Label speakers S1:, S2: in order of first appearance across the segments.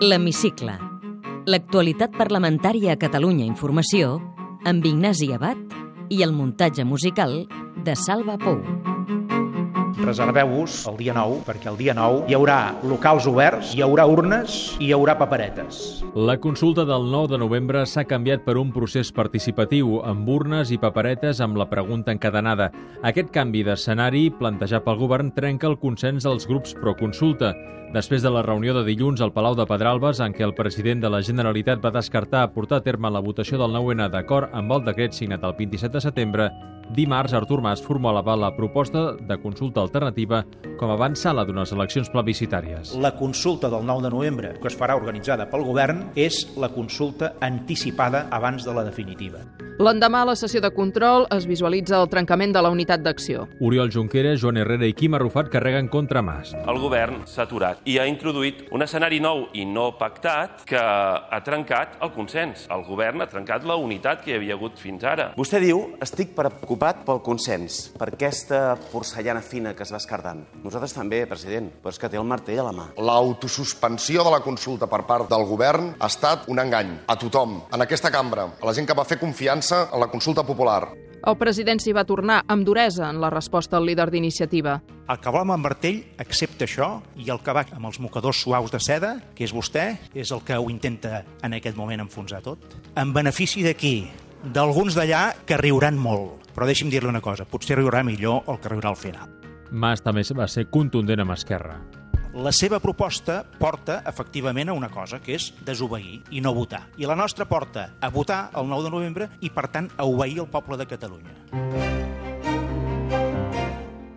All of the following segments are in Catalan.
S1: L'Hemicicle. L'actualitat parlamentària a Catalunya Informació amb Ignasi Abad i el muntatge musical de Salva Pou.
S2: Mm-hmm. Reserveu-vos el dia 9, perquè el dia 9 hi haurà locals oberts, hi haurà urnes i hi haurà paperetes.
S3: La consulta del 9 de novembre s'ha canviat per un procés participatiu, amb urnes i paperetes amb la pregunta encadenada. Aquest canvi d'escenari, plantejat pel govern, trenca el consens dels grups proconsulta. Després de la reunió de dilluns al Palau de Pedralbes, en què el president de la Generalitat va descartar portar a terme la votació del 9-N d'acord amb el decret signat el 27 de setembre, dimarts Artur Mas formulava la proposta de consulta alternativa com a avançala d'unes eleccions plebiscitàries.
S2: La consulta del 9 de novembre, que es farà organitzada pel govern, és la consulta anticipada abans de la definitiva.
S4: L'endemà a la sessió de control es visualitza el trencament de la unitat d'acció.
S3: Oriol Junqueras, Joan Herrera i Quim Arrufat carreguen contra Mas.
S5: El govern s'ha aturat i ha introduït un escenari nou i no pactat que ha trencat el consens. El govern ha trencat la unitat que hi havia hagut fins ara.
S6: Vostè diu, estic preocupat pel consens, per aquesta porcellana fina que es va escardant. Nosaltres també, president, però és que té el martell a la mà.
S7: L'autosuspensió de la consulta per part del govern ha estat un engany a tothom, en aquesta cambra, a la gent que va fer confiança en la consulta popular.
S4: El president s'hi va tornar amb duresa en la resposta al líder d'iniciativa.
S2: El que vol amb el martell accepta això i el que va amb els mocadors suaus de seda, que és vostè, és el que ho intenta en aquest moment enfonsar tot. En benefici de qui? D'alguns d'allà que riuran molt. Però deixi'm dir-li una cosa, potser riurà millor el que riurà al final.
S3: Mas també va ser contundent amb Esquerra.
S2: La seva proposta porta, efectivament, a una cosa, que és desobeir i no votar. I la nostra porta a votar el 9 de novembre i, per tant, a obeir el poble de Catalunya.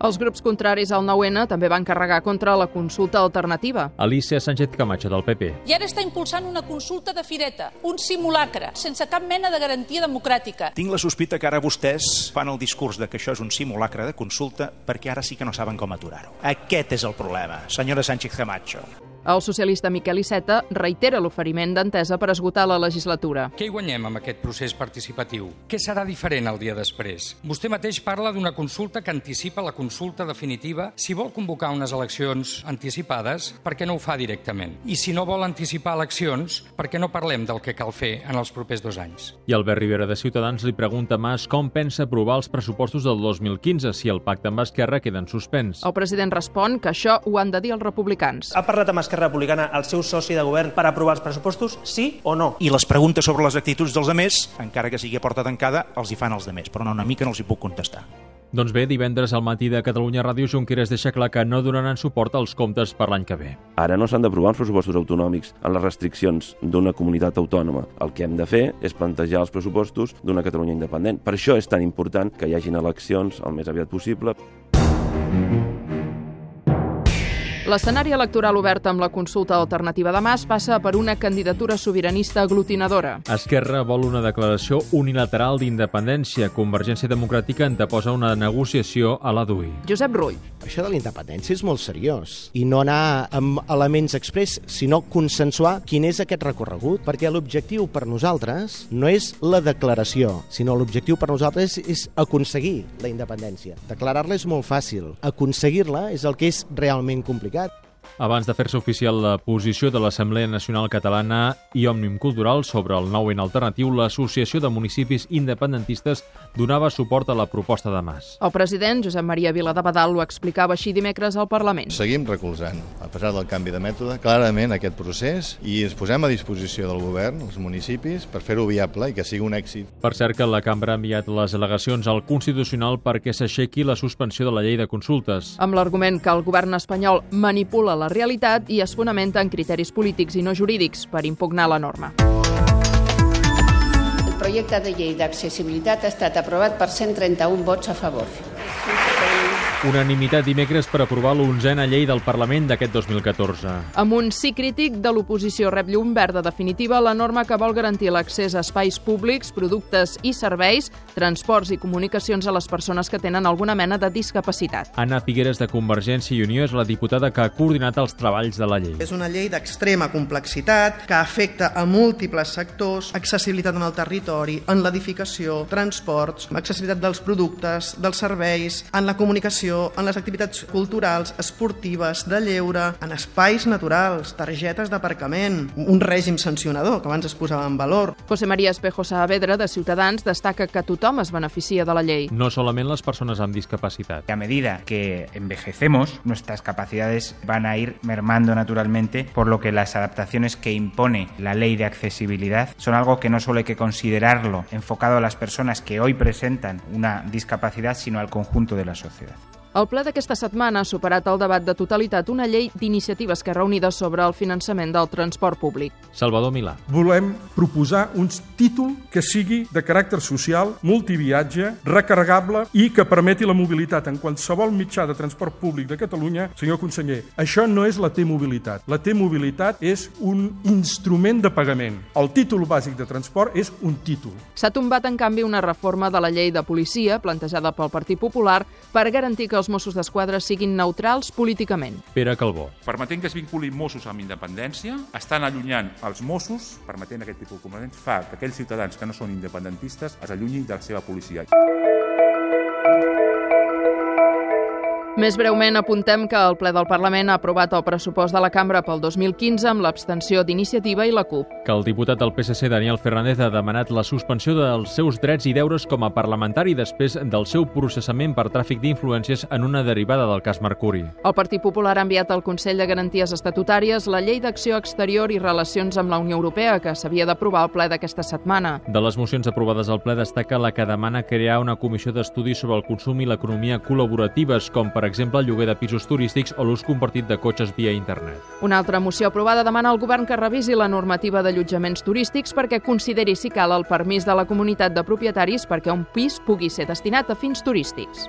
S4: Els grups contraris al 9-N també van carregar contra la consulta alternativa.
S3: Alicia Sánchez Camacho, del PP.
S8: I ara està impulsant una consulta de fireta, un simulacre, sense cap mena de garantia democràtica.
S2: Tinc la sospita que ara vostès fan el discurs de que això és un simulacre de consulta perquè ara sí que no saben com aturar-ho. Aquest és el problema, senyora Sánchez Camacho.
S4: El socialista Miquel Iceta reitera l'oferiment d'entesa per esgotar la legislatura.
S9: Què hi guanyem amb aquest procés participatiu? Què serà diferent el dia després? Vostè mateix parla d'una consulta que anticipa la consulta definitiva si vol convocar unes eleccions anticipades, per què no ho fa directament? I si no vol anticipar eleccions, per què no parlem del que cal fer en els propers dos anys?
S3: I Albert Rivera de Ciutadans li pregunta a Mas com pensa aprovar els pressupostos del 2015 si el pacte amb Esquerra queda en suspens.
S4: El president respon que això ho han de dir els republicans.
S10: Ha parlat amb Esquerra Republicana, el seu soci de govern, per aprovar els pressupostos, sí o no?
S2: I les preguntes sobre les actituds dels altres, encara que sigui a porta tancada, els hi fan els altres, però no, una mica no els hi puc contestar.
S3: Doncs bé, divendres al matí de Catalunya Ràdio Junqueras deixa clar que no donaran suport als comptes per l'any que ve.
S11: Ara no s'han d'aprovar els pressupostos autonòmics en les restriccions d'una comunitat autònoma. El que hem de fer és plantejar els pressupostos d'una Catalunya independent. Per això és tan important que hi hagin eleccions el més aviat possible.
S4: L'escenari electoral obert amb la consulta alternativa de Mas passa per una candidatura sobiranista aglutinadora.
S3: Esquerra vol una declaració unilateral d'independència. Convergència Democràtica anteposa una negociació a la DUI.
S4: Josep Rull.
S12: Això de la independència és molt seriós i no anar amb elements express, sinó consensuar quin és aquest recorregut, perquè l'objectiu per nosaltres no és la declaració, sinó l'objectiu per nosaltres és aconseguir la independència. Declarar-la és molt fàcil, aconseguir-la és el que és realment complicat complicat.
S3: Abans de fer-se oficial la posició de l'Assemblea Nacional Catalana i Òmnium Cultural sobre el nou en alternatiu, l'Associació de Municipis Independentistes donava suport a la proposta de Mas.
S4: El president, Josep Maria Vila de Badal, ho explicava així dimecres al Parlament.
S13: Seguim recolzant, a pesar del canvi de mètode, clarament aquest procés i ens posem a disposició del govern, els municipis, per fer-ho viable i que sigui un èxit.
S3: Per cert que la cambra ha enviat les al·legacions al Constitucional perquè s'aixequi la suspensió de la llei de consultes.
S4: Amb l'argument que el govern espanyol manipula la realitat i es fonamenta en criteris polítics i no jurídics per impugnar la norma.
S14: El projecte de llei d'accessibilitat ha estat aprovat per 131 vots a favor.
S3: Unanimitat dimecres per aprovar l'onzena llei del Parlament d'aquest 2014.
S4: Amb un sí crític de l'oposició rep llum verda definitiva la norma que vol garantir l'accés a espais públics, productes i serveis, transports i comunicacions a les persones que tenen alguna mena de discapacitat.
S3: Anna Figueres de Convergència i Unió és la diputada que ha coordinat els treballs de la llei.
S15: És una llei d'extrema complexitat que afecta a múltiples sectors, accessibilitat en el territori, en l'edificació, transports, accessibilitat dels productes, dels serveis, en la comunicació, participació en les activitats culturals, esportives, de lleure, en espais naturals, targetes d'aparcament, un règim sancionador que abans es posava en valor.
S4: José María Espejo Saavedra, de Ciutadans, destaca que tothom es beneficia de la llei.
S3: No solament les persones amb discapacitat.
S16: A medida que envejecemos, nuestras capacidades van a ir mermando naturalmente, por lo que las adaptaciones que impone la ley de accesibilidad son algo que no solo hay que considerarlo enfocado a las personas que hoy presentan una discapacidad, sino al conjunto de la sociedad.
S4: El ple d'aquesta setmana ha superat el debat de totalitat una llei d'iniciatives que Unida sobre el finançament del transport públic.
S3: Salvador Milà.
S17: Volem proposar un títol que sigui de caràcter social, multiviatge, recarregable i que permeti la mobilitat en qualsevol mitjà de transport públic de Catalunya. Senyor conseller, això no és la T-mobilitat. La T-mobilitat és un instrument de pagament. El títol bàsic de transport és un títol.
S4: S'ha tombat, en canvi, una reforma de la llei de policia plantejada pel Partit Popular per garantir que els Mossos d'Esquadra siguin neutrals políticament.
S3: Pere Calbó.
S18: Permetent que es vinculin Mossos amb independència, estan allunyant els Mossos, permetent aquest tipus de comandaments, fa que aquells ciutadans que no són independentistes es allunyin de la seva policia.
S4: Més breument, apuntem que el ple del Parlament ha aprovat el pressupost de la cambra pel 2015 amb l'abstenció d'iniciativa i la CUP.
S3: Que el diputat del PSC, Daniel Fernández, ha demanat la suspensió dels seus drets i deures com a parlamentari després del seu processament per tràfic d'influències en una derivada del cas Mercuri.
S4: El Partit Popular ha enviat al Consell de Garanties Estatutàries la llei d'acció exterior i relacions amb la Unió Europea que s'havia d'aprovar al ple d'aquesta setmana.
S3: De les mocions aprovades al ple destaca la que demana crear una comissió d'estudi sobre el consum i l'economia col·laboratives com per per exemple, el lloguer de pisos turístics o l'ús compartit de cotxes via internet.
S4: Una altra moció aprovada demana al govern que revisi la normativa d'allotjaments turístics perquè consideri si cal el permís de la comunitat de propietaris perquè un pis pugui ser destinat a fins turístics.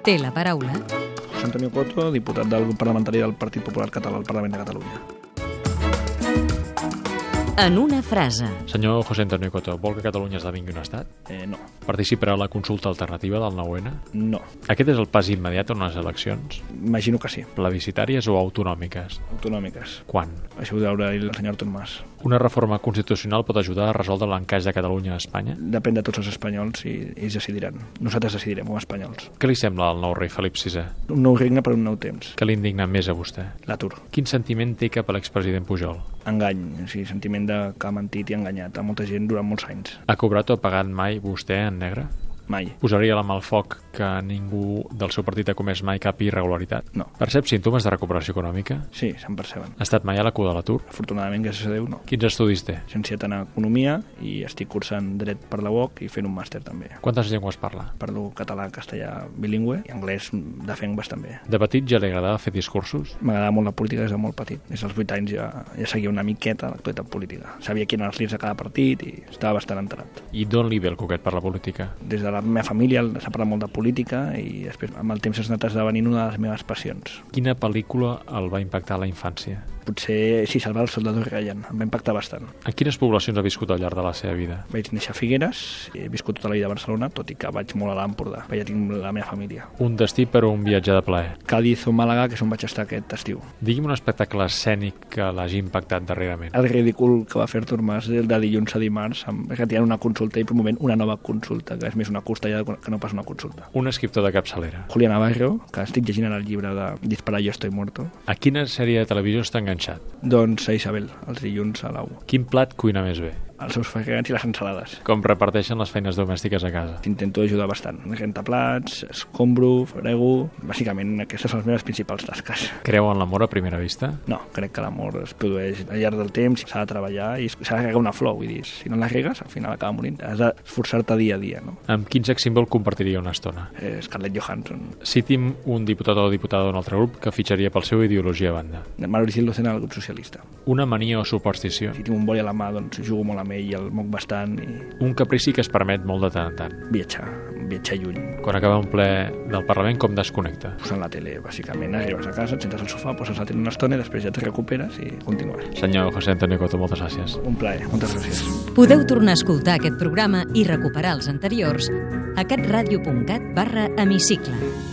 S1: Té la paraula
S19: José Antonio Coto, diputat del grup parlamentari del Partit Popular Català al Parlament de Catalunya.
S1: en una frase.
S3: Senyor José Antonio Coto, vol que Catalunya esdevingui un estat?
S19: Eh, no.
S3: Participarà a la consulta alternativa del 9-N?
S19: No.
S3: Aquest és el pas immediat a unes eleccions?
S19: Imagino que sí.
S3: Plebiscitàries o autonòmiques?
S19: Autonòmiques.
S3: Quan?
S19: Això ho deurà dir el senyor Artur Mas.
S3: Una reforma constitucional pot ajudar a resoldre l'encaix de Catalunya a Espanya?
S19: Depèn de tots els espanyols i ells decidiran. Nosaltres decidirem com a espanyols.
S3: Què li sembla al nou rei Felip VI?
S19: Un nou regne per un nou temps.
S3: Què l'indigna més a vostè?
S19: L'atur.
S3: Quin sentiment té cap a l'expresident Pujol?
S19: Engany, o sigui, sentiment de que ha mentit i enganyat a molta gent durant molts anys.
S3: Ha cobrat o pagat mai vostè en negre?
S19: Mai.
S3: Posaria la mà al foc que ningú del seu partit ha comès mai cap irregularitat?
S19: No.
S3: Percep símptomes de recuperació econòmica?
S19: Sí, se'n perceben.
S3: Ha estat mai a la cua de l'atur?
S19: Afortunadament, gràcies a Déu, no.
S3: Quins estudis té?
S19: Llicenciat en Economia i estic cursant Dret per la UOC i fent un màster també.
S3: Quantes llengües parla?
S19: Parlo català, castellà, bilingüe i anglès mm, defenc bastant bé.
S3: De petit ja li agradava fer discursos?
S19: M'agradava molt la política des de molt petit. Des dels 8 anys ja, ja seguia una miqueta l'actualitat política. Sabia quin eren els líders de cada partit i estava bastant enterat.
S3: I d'on li ve el coquet per la política?
S19: Des de la meva família s'ha parlat molt de política i després amb el temps s'ha anat esdevenint una de les meves passions.
S3: Quina pel·lícula el va impactar a la infància?
S19: potser si salvar el soldado Ryan. Em va impactar bastant.
S3: En quines poblacions ha viscut al llarg de la seva vida?
S19: Vaig néixer a Figueres, he viscut tota la vida a Barcelona, tot i que vaig molt a l'Empordà, allà ja tinc la meva família.
S3: Un destí per a un viatge de plaer.
S19: Cádiz o Màlaga, que és on vaig estar aquest estiu.
S3: Digui'm un espectacle escènic que l'hagi impactat darrerament.
S19: El ridícul que va fer Artur Mas el de dilluns a dimarts, amb retirant una consulta i promovent una nova consulta, que és més una costella que no pas una consulta.
S3: Un escriptor de capçalera.
S19: Julián Navarro, que estic llegint en el llibre de Disparar jo estoy muerto.
S3: A quina sèrie de televisió està enganxat?
S19: Doncs a Isabel, els dilluns a l'au.
S3: Quin plat cuina més bé?
S19: els seus fregats i les ensalades.
S3: Com reparteixen les feines domèstiques a casa?
S19: Intento ajudar bastant. Rentaplats, escombro, frego... Bàsicament, aquestes són les meves principals tasques.
S3: Creu en l'amor a primera vista?
S19: No, crec que l'amor es produeix al llarg del temps, s'ha de treballar i s'ha de regar una flor, vull dir, si no la regues, al final acaba morint. Has d'esforçar-te dia a dia, no?
S3: Amb quin sex símbol compartiria una estona?
S19: Eh, Scarlett Johansson.
S3: Citim un diputat o diputada d'un altre grup que fitxaria pel seu ideologia a banda.
S19: Maurici Lucena, del grup socialista.
S3: Una mania o superstició?
S19: Si tinc un boli a la mà, doncs jugo molt amb ell, el moc bastant. I...
S3: Un caprici que es permet molt de tant en tant.
S19: Viatjar, viatjar lluny.
S3: Quan acaba un ple del Parlament, com desconnecta?
S19: Posant la tele, bàsicament. Arribes a casa, et sentes al sofà, poses la tele una estona i després ja et recuperes i continues.
S3: Senyor José Antonio Coto, moltes gràcies.
S19: Un plaer, moltes gràcies.
S1: Podeu tornar a escoltar aquest programa i recuperar els anteriors a catradio.cat barra hemicicle.